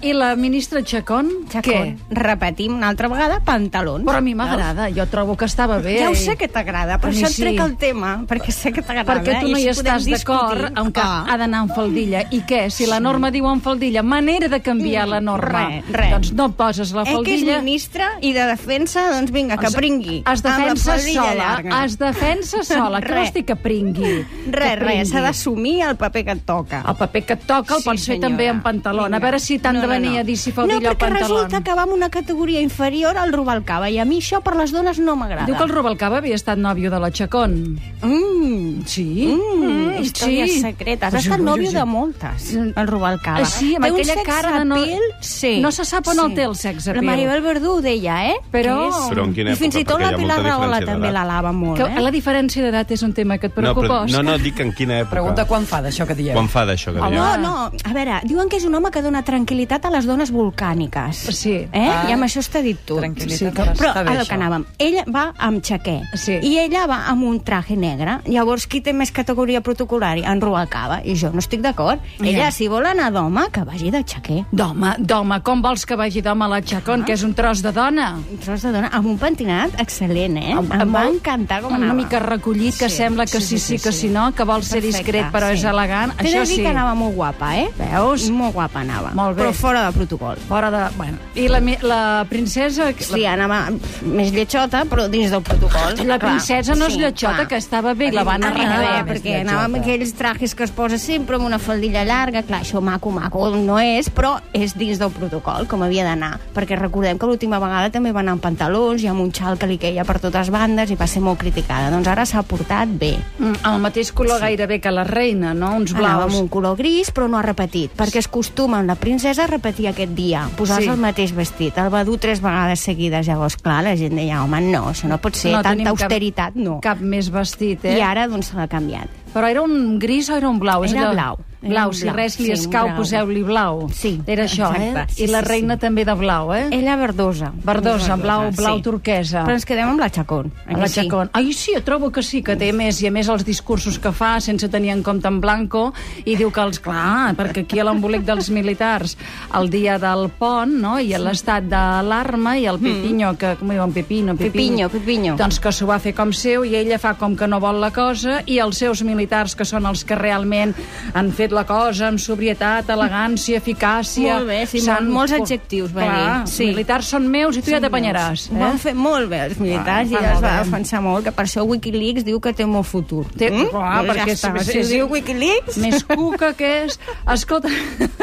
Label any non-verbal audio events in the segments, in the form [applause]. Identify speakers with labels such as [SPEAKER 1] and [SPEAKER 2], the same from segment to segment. [SPEAKER 1] I la ministra Chacón,
[SPEAKER 2] Què? Repetim una altra vegada, pantalons.
[SPEAKER 1] Però a mi m'agrada, jo trobo que estava bé.
[SPEAKER 2] Ja ho sé que t'agrada, però
[SPEAKER 1] A mi
[SPEAKER 2] això et
[SPEAKER 1] sí.
[SPEAKER 2] trec el tema, perquè sé que t'agrada. eh?
[SPEAKER 1] Perquè tu
[SPEAKER 2] i
[SPEAKER 1] no hi
[SPEAKER 2] així podem
[SPEAKER 1] estàs d'acord,
[SPEAKER 2] discutir.
[SPEAKER 1] aunque
[SPEAKER 2] Ah.
[SPEAKER 1] ha d'anar en faldilla. I què? Si la norma diu en faldilla, manera de canviar la norma.
[SPEAKER 2] Mm, res, res.
[SPEAKER 1] Doncs no poses la
[SPEAKER 2] Eh, que és
[SPEAKER 1] faldilla.
[SPEAKER 2] ministre i de defensa, doncs vinga, que pringui.
[SPEAKER 1] Es defensa
[SPEAKER 2] Amb la faldilla
[SPEAKER 1] sola,
[SPEAKER 2] llarga.
[SPEAKER 1] es defensa
[SPEAKER 2] [laughs]
[SPEAKER 1] sola, que
[SPEAKER 2] Res.
[SPEAKER 1] vols dir que pringui?
[SPEAKER 2] [laughs] Res,
[SPEAKER 1] Que
[SPEAKER 2] res, s'ha
[SPEAKER 1] pringui.
[SPEAKER 2] d'assumir el paper que et toca.
[SPEAKER 1] El paper que et toca el
[SPEAKER 2] Sí,
[SPEAKER 1] pots fer
[SPEAKER 2] senyora.
[SPEAKER 1] també en pantalona. A
[SPEAKER 2] Vinga.
[SPEAKER 1] veure si t'han
[SPEAKER 2] No,
[SPEAKER 1] de
[SPEAKER 2] no,
[SPEAKER 1] venir
[SPEAKER 2] no.
[SPEAKER 1] a dir si faldilla
[SPEAKER 2] No,
[SPEAKER 1] o
[SPEAKER 2] perquè
[SPEAKER 1] pantaló.
[SPEAKER 2] resulta que va en una categoria inferior al Rubalcaba, i a mi això per les dones no m'agrada.
[SPEAKER 1] Diu que el Rubalcaba havia estat nòvio de la Chacón.
[SPEAKER 2] Mm,
[SPEAKER 1] Sí?
[SPEAKER 2] Mm, històries
[SPEAKER 1] sí.
[SPEAKER 2] secretes. Ha
[SPEAKER 1] Però
[SPEAKER 2] estat
[SPEAKER 1] jo-
[SPEAKER 2] nòvio
[SPEAKER 1] jo-
[SPEAKER 2] de moltes, el Rubalcaba.
[SPEAKER 1] Ah, sí, amb
[SPEAKER 2] Té un
[SPEAKER 1] aquella
[SPEAKER 2] sex
[SPEAKER 1] cara de no-
[SPEAKER 2] appeal, sí.
[SPEAKER 1] No se sap on el té, el sex appeal.
[SPEAKER 2] La Maribel Verdú ho deia, eh?
[SPEAKER 1] Però-
[SPEAKER 2] Que és-
[SPEAKER 1] Però
[SPEAKER 3] en quina
[SPEAKER 2] I fins
[SPEAKER 3] època?
[SPEAKER 2] i tot
[SPEAKER 3] Perquè
[SPEAKER 2] la
[SPEAKER 3] hi ha
[SPEAKER 2] Pilar
[SPEAKER 3] molta
[SPEAKER 2] Rahola
[SPEAKER 3] diferència
[SPEAKER 2] també
[SPEAKER 3] d'edat.
[SPEAKER 2] l'alava molt,
[SPEAKER 1] Que
[SPEAKER 2] eh?
[SPEAKER 1] la diferència d'edat és un tema que et preocupa,
[SPEAKER 3] no,
[SPEAKER 1] Òscar.
[SPEAKER 3] no, dic en quina època.
[SPEAKER 4] Pregunta quan fa d'això que diem.
[SPEAKER 3] Quan fa d'això que diem?
[SPEAKER 2] No, no, a veure, diuen que és un home que dona tranquil·litat a les dones volcàniques.
[SPEAKER 1] Sí.
[SPEAKER 2] Eh?
[SPEAKER 4] Ah.
[SPEAKER 2] I amb això està dit tot.
[SPEAKER 4] Tranquil·litat,
[SPEAKER 2] Sí,
[SPEAKER 4] però
[SPEAKER 2] però
[SPEAKER 4] està bé,
[SPEAKER 2] a lo
[SPEAKER 4] això.
[SPEAKER 2] que anàvem. Ell va amb xaquer.
[SPEAKER 1] Sí.
[SPEAKER 2] I ella va amb un traje negre. Llavors, qui té més categoria protocolari? En Rubalcaba. I jo no estic d'acord. Ella, si vol anar d'home, que vagi de xaquer.
[SPEAKER 1] D'home, d'home, com vols que vagi d'home a la Chacón, que és un tros de dona?
[SPEAKER 2] Un tros de dona amb un pentinat excel·lent, eh?
[SPEAKER 1] Amb-
[SPEAKER 2] em
[SPEAKER 1] amb
[SPEAKER 2] va
[SPEAKER 1] un-
[SPEAKER 2] encantar com
[SPEAKER 1] Una
[SPEAKER 2] anava.
[SPEAKER 1] mica recollit, que
[SPEAKER 2] Sí,
[SPEAKER 1] sembla que sí, sí, que sí, no, que vol ser
[SPEAKER 2] Perfecte,
[SPEAKER 1] discret, però és elegant.
[SPEAKER 2] T'he
[SPEAKER 1] Això
[SPEAKER 2] de dir
[SPEAKER 1] sí.
[SPEAKER 2] que anava molt guapa, eh?
[SPEAKER 1] Veus?
[SPEAKER 2] Molt guapa anava.
[SPEAKER 1] Molt bé.
[SPEAKER 2] Però fora de protocol.
[SPEAKER 1] Fora de... Bueno. I la, mi- la princesa...
[SPEAKER 2] Sí, anava més lletxota, però dins del protocol.
[SPEAKER 1] La, la
[SPEAKER 2] clar.
[SPEAKER 1] princesa no és
[SPEAKER 2] Sí,
[SPEAKER 1] lletxota,
[SPEAKER 2] clar.
[SPEAKER 1] que estava bé, i la van
[SPEAKER 2] Ah,
[SPEAKER 1] arreglar.
[SPEAKER 2] bé, perquè anava amb aquells trajes que es posa sempre amb una faldilla llarga, clar, això maco, maco no és, però és dins del protocol, com havia d'anar, perquè recordem que l'última vegada també va anar amb pantalons i amb un xal que li queia per totes bandes i va ser molt criticada, doncs ara s'ha portat bé.
[SPEAKER 1] Mm, amb el mateix color gairebé que la reina, no? Uns
[SPEAKER 2] Anava
[SPEAKER 1] blaus.
[SPEAKER 2] amb un color gris, però no ha repetit, perquè és costum en la princesa repetir aquest dia, posar-se
[SPEAKER 1] Sí.
[SPEAKER 2] sí. el mateix vestit. El va dur tres vegades seguides, llavors, clar, la gent deia, home, no, això no pot ser,
[SPEAKER 1] no
[SPEAKER 2] no,
[SPEAKER 1] tenim
[SPEAKER 2] tanta austeritat,
[SPEAKER 1] cap,
[SPEAKER 2] no.
[SPEAKER 1] Cap més vestit, eh?
[SPEAKER 2] I ara, doncs, se l'ha canviat.
[SPEAKER 1] Però era un gris o era un blau? És
[SPEAKER 2] Era
[SPEAKER 1] allò-
[SPEAKER 2] blau. Era
[SPEAKER 1] Blau,
[SPEAKER 2] un
[SPEAKER 1] si
[SPEAKER 2] blau,
[SPEAKER 1] res li
[SPEAKER 2] sí, un
[SPEAKER 1] escau,
[SPEAKER 2] blau.
[SPEAKER 1] poseu-li blau.
[SPEAKER 2] Sí,
[SPEAKER 1] Era això,
[SPEAKER 2] exacte.
[SPEAKER 1] eh? I
[SPEAKER 2] Sí,
[SPEAKER 1] la
[SPEAKER 2] sí,
[SPEAKER 1] reina
[SPEAKER 2] sí.
[SPEAKER 1] també de blau, eh?
[SPEAKER 2] Ella verdosa.
[SPEAKER 1] Verdosa, blau, blau turquesa.
[SPEAKER 2] Però ens quedem amb la Chacón. eh
[SPEAKER 1] A la
[SPEAKER 2] que sí?
[SPEAKER 1] Chacón. Ai, sí, jo trobo que sí, que té més, i a més els discursos que fa, sense tenir en compte en Blanco, i diu que els, clar, perquè aquí a l'embolic
[SPEAKER 2] [laughs]
[SPEAKER 1] dels militars, el dia del pont, no?, i a l'estat d'alarma, i
[SPEAKER 2] Mm.
[SPEAKER 1] el Pepinyo, que, com diuen, Pepino,
[SPEAKER 2] Pepinyo, Pepinyo.
[SPEAKER 1] Doncs que s'ho va fer com seu, i ella fa com que no vol la cosa, i els seus militars, que són els que realment han fet la cosa amb sobrietat, elegància, eficàcia...
[SPEAKER 2] Molt bé, sí,
[SPEAKER 1] s'han-
[SPEAKER 2] molts adjectius, va
[SPEAKER 1] Clar,
[SPEAKER 2] dir.
[SPEAKER 1] els
[SPEAKER 2] Sí.
[SPEAKER 1] militars són meus i tu ja t'apanyaràs.
[SPEAKER 2] Ho
[SPEAKER 1] Eh?
[SPEAKER 2] van fer molt bé, els militars,
[SPEAKER 1] Ah,
[SPEAKER 2] i es
[SPEAKER 1] molt
[SPEAKER 2] va
[SPEAKER 1] bé.
[SPEAKER 2] defensar molt, que per això Wikileaks diu que té molt futur.
[SPEAKER 1] Té- clar,
[SPEAKER 2] Doncs
[SPEAKER 1] perquè
[SPEAKER 2] ja està,
[SPEAKER 1] és-
[SPEAKER 2] si ho
[SPEAKER 1] és-
[SPEAKER 2] diu Wikileaks...
[SPEAKER 1] Més cuca que és. Escolta, [laughs]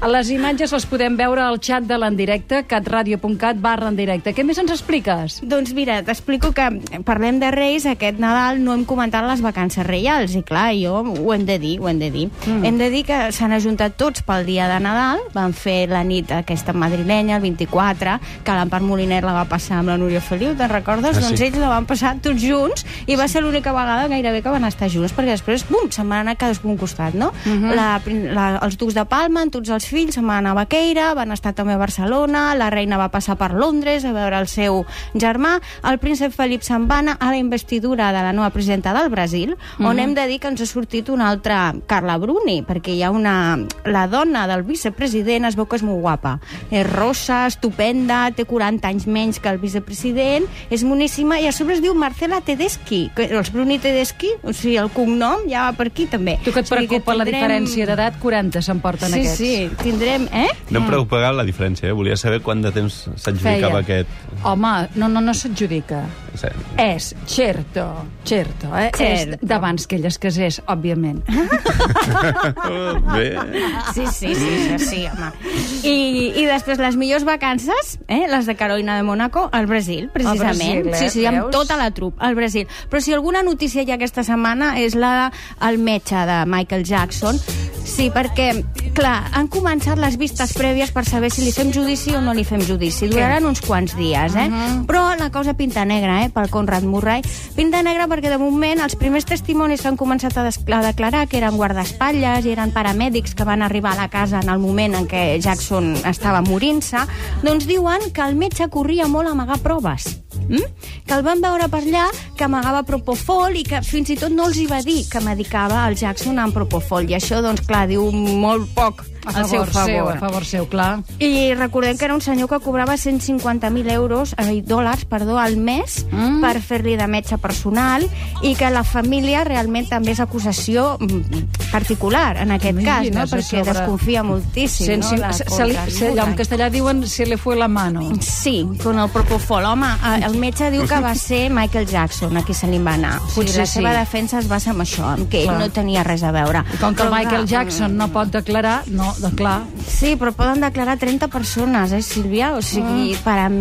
[SPEAKER 1] a les imatges les podem veure al xat de l'endirecte, catradio.cat barra endirecte. Què més ens expliques?
[SPEAKER 2] Doncs mira, t'explico que parlem de Reis, aquest Nadal no hem comentat les vacances reials, i clar, jo ho hem de dir, ho hem de dir. Mm. Hem de dir que s'han ajuntat tots pel dia de Nadal, van fer la nit aquesta madrilenya, el 24, que l'Empar Moliner la va passar amb la Núria Feliu, te'n recordes?
[SPEAKER 3] Ah,
[SPEAKER 2] doncs
[SPEAKER 3] sí.
[SPEAKER 2] ells la van passar tots junts, i va ser l'única vegada gairebé que van estar junts, perquè després, bum, se'n van anar cadascú a un costat, no?
[SPEAKER 3] Mhm.
[SPEAKER 2] la, prin- la, els ducs de Palma, amb tots els fills, se'n van anar a Baqueira, van estar també a Barcelona, la reina va passar per Londres a veure el seu germà, el príncep Felip se'n va anar a la investidura de la nova presidenta del Brasil,
[SPEAKER 1] Mhm.
[SPEAKER 2] on hem de dir que ens ha sortit una altra Carla Bruni, perquè hi ha una... La dona del vicepresident es veu que és molt guapa. És rossa, estupenda, té 40 anys menys que el vicepresident, és moníssima, i a sobre es diu Marcela Tedeschi, que els Bruni Tedeschi, o sigui, el cognom ja va per aquí també.
[SPEAKER 1] Tu que et
[SPEAKER 2] O sigui
[SPEAKER 1] preocupa la
[SPEAKER 2] tindrem-
[SPEAKER 1] diferència d'edat, 40 s'emporten
[SPEAKER 2] Sí,
[SPEAKER 1] aquests.
[SPEAKER 2] sí, tindrem, eh?
[SPEAKER 3] No em preocupava la diferència, eh? Volia saber quant de temps s'adjudicava aquest...
[SPEAKER 1] Home, no, no, no s'adjudica.
[SPEAKER 3] No sé.
[SPEAKER 1] És, certo, certo, eh?
[SPEAKER 2] Certo.
[SPEAKER 1] És d'abans que ell es casés, òbviament.
[SPEAKER 3] Oh, bé.
[SPEAKER 2] Sí, sí, sí, sí, sí home. I, I després les millors vacances, eh? les de Carolina de Mónaco, al Brasil, precisament.
[SPEAKER 1] Brasil, eh?
[SPEAKER 2] Sí, sí, amb
[SPEAKER 1] Veus?
[SPEAKER 2] tota la trup, al Brasil. Però si alguna notícia hi ha aquesta setmana és la del metge de Michael Jackson. Sí, perquè, clar, han començat les vistes prèvies per saber si li fem judici o no li fem judici. Duraran uns quants dies, eh? Però la cosa pinta negra, eh?, pel Conrad Murray. Pinta negra perquè, de moment, els primers testimonis que han començat a, des- a declarar que eren guardaespatlles i eren paramèdics que van arribar a la casa en el moment en què Jackson estava morint-se, doncs diuen que el metge corria molt a amagar proves. Mm? que el van veure per allà, que amagava propofol i que fins i tot no els hi va dir que medicava el Jackson amb propofol. I això, doncs, clar, diu molt poc
[SPEAKER 1] A
[SPEAKER 2] al seu
[SPEAKER 1] favor
[SPEAKER 2] favor.
[SPEAKER 1] seu, a favor seu, clar.
[SPEAKER 2] I recordem que era un senyor que cobrava 150.000 euros, ai, dòlars, perdó, al mes mm. per fer-li de metge personal i que la família realment també és acusació mm, particular en aquest cas,
[SPEAKER 1] Imagina't,
[SPEAKER 2] no?
[SPEAKER 1] a
[SPEAKER 2] perquè
[SPEAKER 1] sobre-
[SPEAKER 2] desconfia moltíssim.
[SPEAKER 1] Cent
[SPEAKER 2] no?
[SPEAKER 1] cinc-
[SPEAKER 2] la
[SPEAKER 1] se- se li-
[SPEAKER 2] contra-
[SPEAKER 1] se- allò en castellà diuen se le fue la mano.
[SPEAKER 2] Doncs Sí, con el propofol. Home, eh, el metge diu que [laughs] va ser Michael Jackson a qui se li va anar. Potser
[SPEAKER 1] Potser
[SPEAKER 2] la seva
[SPEAKER 1] sí.
[SPEAKER 2] defensa es va ser amb això, amb que ell
[SPEAKER 1] Clar.
[SPEAKER 2] no tenia res a veure.
[SPEAKER 1] I com que el
[SPEAKER 2] Però,
[SPEAKER 1] Michael
[SPEAKER 2] clar,
[SPEAKER 1] Jackson no pot declarar, no, de clar,
[SPEAKER 2] Sí, però poden declarar 30 persones, eh, Sílvia? O
[SPEAKER 1] Ah.
[SPEAKER 2] sigui,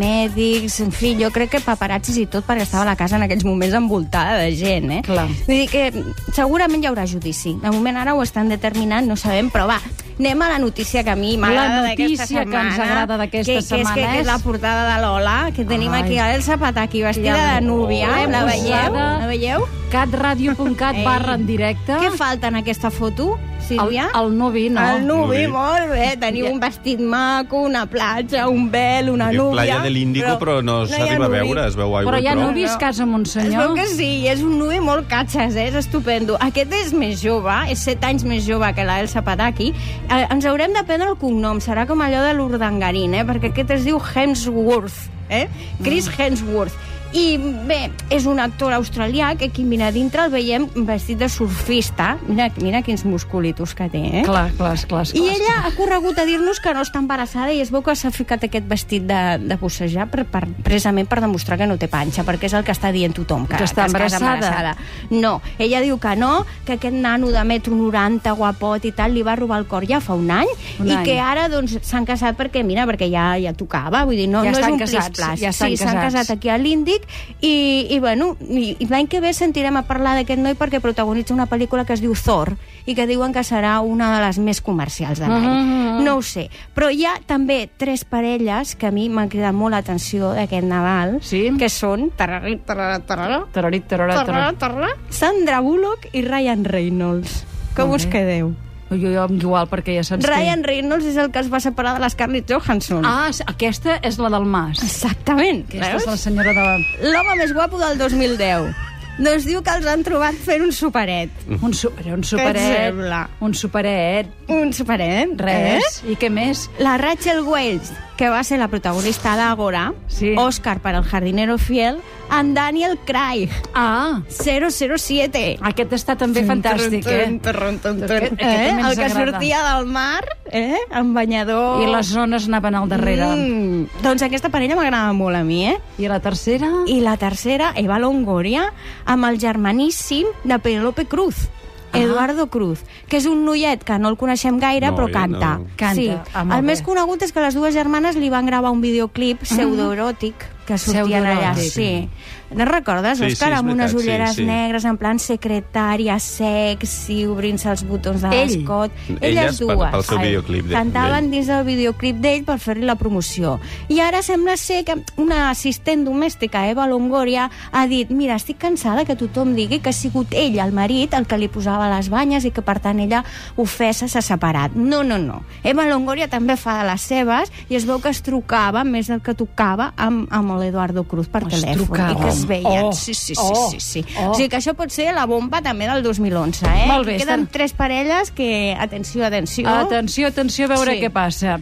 [SPEAKER 2] paramèdics, en fi, jo crec que paparazzis i tot, perquè estava a la casa en aquells moments envoltada de gent, eh?
[SPEAKER 1] Clar.
[SPEAKER 2] Vull dir que segurament hi haurà judici. De moment ara ho estan determinant, no sabem, però va, anem a la notícia que a mi m'agrada
[SPEAKER 1] La
[SPEAKER 2] d'aquesta
[SPEAKER 1] notícia
[SPEAKER 2] setmana.
[SPEAKER 1] que ens agrada d'aquesta
[SPEAKER 2] que, que és, que,
[SPEAKER 1] setmana
[SPEAKER 2] que
[SPEAKER 1] és-
[SPEAKER 2] és la portada de l'Ola, que tenim
[SPEAKER 1] Ai.
[SPEAKER 2] aquí a Elsa Pataki, vestida
[SPEAKER 1] Ja.
[SPEAKER 2] de núvia.
[SPEAKER 1] Oh.
[SPEAKER 2] la veieu?
[SPEAKER 1] Posada.
[SPEAKER 2] La veieu?
[SPEAKER 1] catradio.cat
[SPEAKER 2] Ei.
[SPEAKER 1] barra en directe.
[SPEAKER 2] Què falta en aquesta foto,
[SPEAKER 1] El,
[SPEAKER 2] Sílvia?
[SPEAKER 1] el nuvi, no.
[SPEAKER 2] El nuvi,
[SPEAKER 3] Nuvi.
[SPEAKER 2] molt bé. Teniu un vestit maco, una platja, un vel, una
[SPEAKER 3] Diu
[SPEAKER 2] núvia...
[SPEAKER 3] Playa de l'Índico, però, no,
[SPEAKER 2] hi ha
[SPEAKER 3] s'arriba a
[SPEAKER 2] nuvi.
[SPEAKER 3] veure, es veu aigua.
[SPEAKER 1] Però hi ha
[SPEAKER 3] però...
[SPEAKER 1] nuvi es casa amb un
[SPEAKER 2] Es
[SPEAKER 1] senyor.
[SPEAKER 2] veu que sí, i és un nuvi molt catxes, eh? és estupendo. Aquest és més jove, és 7 anys més jove que la Elsa Pataki. Eh, ens haurem de prendre el cognom, serà com allò de l'Urdangarín, eh? perquè aquest es diu Hemsworth, eh? Chris
[SPEAKER 1] Mm.
[SPEAKER 2] Hemsworth. I bé, és un actor australià que aquí, mira, dintre el veiem vestit de surfista. Mira, mira quins musculitos que té, eh?
[SPEAKER 1] Clar, clar, clar, clar.
[SPEAKER 2] I ella ha corregut a dir-nos que no està embarassada i es veu que s'ha ficat aquest vestit de, de bussejar per, per, precisament per demostrar que no té panxa, perquè és el que està dient tothom, que,
[SPEAKER 1] Que està
[SPEAKER 2] es casa
[SPEAKER 1] embarassada.
[SPEAKER 2] No, ella diu que no, que aquest nano de metro 90, guapot i tal, li va robar el cor ja fa un any,
[SPEAKER 1] Un
[SPEAKER 2] i
[SPEAKER 1] any.
[SPEAKER 2] que ara doncs s'han casat perquè, mira, perquè ja ja tocava, vull dir, no,
[SPEAKER 1] Ja
[SPEAKER 2] no és
[SPEAKER 1] estan
[SPEAKER 2] un
[SPEAKER 1] casats,
[SPEAKER 2] plis-plas.
[SPEAKER 1] ja estan
[SPEAKER 2] sí, s'han
[SPEAKER 1] casats.
[SPEAKER 2] casat aquí a l'Índic, i, i bueno, i, i l'any que ve sentirem a parlar d'aquest noi perquè protagonitza una pel·lícula que es diu Thor, i que diuen que serà una de les més comercials de l'any.
[SPEAKER 1] Mhm,
[SPEAKER 2] No ho sé. Però hi ha també tres parelles que a mi m'han cridat molt l'atenció d'aquest Nadal,
[SPEAKER 1] Sí?
[SPEAKER 2] que són tararri, tararà, tararà,
[SPEAKER 1] Tararit, tararà, tararà.
[SPEAKER 2] tararà, tararà, Sandra Bullock i Ryan Reynolds. Com
[SPEAKER 1] Molt
[SPEAKER 2] us
[SPEAKER 1] bé.
[SPEAKER 2] quedeu?
[SPEAKER 1] Jo, jo em igual, perquè ja saps
[SPEAKER 2] Ryan Reynolds és el que es va separar de la Scarlett Johansson.
[SPEAKER 1] que... Ah, s- aquesta és la del Mas.
[SPEAKER 2] Exactament.
[SPEAKER 1] Aquesta
[SPEAKER 2] veus?
[SPEAKER 1] és la senyora de...
[SPEAKER 2] L'home més guapo del 2010. Doncs diu que els han trobat fent un superet.
[SPEAKER 1] Un, super, un
[SPEAKER 2] Què et
[SPEAKER 1] superet.
[SPEAKER 2] sembla?
[SPEAKER 1] Un superet.
[SPEAKER 2] Un superet? Eh?
[SPEAKER 1] Res. I què més?
[SPEAKER 2] La Rachel Wells, que va ser la protagonista d'Àgora,
[SPEAKER 1] Sí.
[SPEAKER 2] Oscar para el jardinero fiel, en Daniel Craig,
[SPEAKER 1] Ah,
[SPEAKER 2] 007.
[SPEAKER 1] aquest està també fantàstic, eh? Aquest- aquest
[SPEAKER 2] eh?
[SPEAKER 1] també ens
[SPEAKER 2] El que
[SPEAKER 1] agrada.
[SPEAKER 2] sortia del mar, eh? amb banyador...
[SPEAKER 1] I les zones anaven al darrere.
[SPEAKER 2] Mm, doncs aquesta parella m'agrada molt a mi, eh?
[SPEAKER 1] I la tercera?
[SPEAKER 2] I la tercera, Eva Longoria, amb el germaníssim de Penélope Cruz.
[SPEAKER 1] Ah.
[SPEAKER 2] Eduardo Cruz, que és un noiet que no el coneixem gaire,
[SPEAKER 3] Noi,
[SPEAKER 2] però canta.
[SPEAKER 3] no.
[SPEAKER 1] Canta.
[SPEAKER 2] Sí.
[SPEAKER 1] Ah, molt
[SPEAKER 2] el
[SPEAKER 1] bé. Ah.
[SPEAKER 2] més conegut és que les dues germanes li van gravar un videoclip pseudoeròtic que sortien allà.
[SPEAKER 1] Pseudoeròtic.
[SPEAKER 2] Sí. No recordes,
[SPEAKER 3] Sí, sí,
[SPEAKER 2] Òscar?
[SPEAKER 3] és
[SPEAKER 2] amb unes
[SPEAKER 3] veritat, sí,
[SPEAKER 2] ulleres
[SPEAKER 3] sí.
[SPEAKER 2] negres, en plan secretària, sexy, obrint-se els botons de
[SPEAKER 1] Ell.
[SPEAKER 2] l'escot.
[SPEAKER 3] Elles
[SPEAKER 2] Elles
[SPEAKER 3] pel-
[SPEAKER 2] dues.
[SPEAKER 3] pel seu
[SPEAKER 2] Ai,
[SPEAKER 3] videoclip de-
[SPEAKER 2] Cantaven
[SPEAKER 3] d'ell.
[SPEAKER 2] dins del videoclip d'ell per fer-li la promoció. I ara sembla ser que una assistent domèstica, Eva Longoria, ha dit, mira, estic cansada que tothom digui que ha sigut ell, el marit, el que li posava les banyes i que, per tant, ella ofesa s'ha separat. No, no, no. Eva Longoria també fa de les seves i es veu que es trucava més del que tocava amb, amb l'Eduardo Cruz per
[SPEAKER 1] Es
[SPEAKER 2] telèfon.
[SPEAKER 1] trucaven.
[SPEAKER 2] I que es veien.
[SPEAKER 1] Oh,
[SPEAKER 2] sí, sí, sí,
[SPEAKER 1] oh,
[SPEAKER 2] sí, sí.
[SPEAKER 1] oh.
[SPEAKER 2] O sigui que això pot ser la bomba també del 2011, eh?
[SPEAKER 1] Molt bé,
[SPEAKER 2] Queden
[SPEAKER 1] estan-
[SPEAKER 2] tres parelles que... Atenció, atenció.
[SPEAKER 1] Atenció, atenció, a veure
[SPEAKER 2] Sí.
[SPEAKER 1] què passa.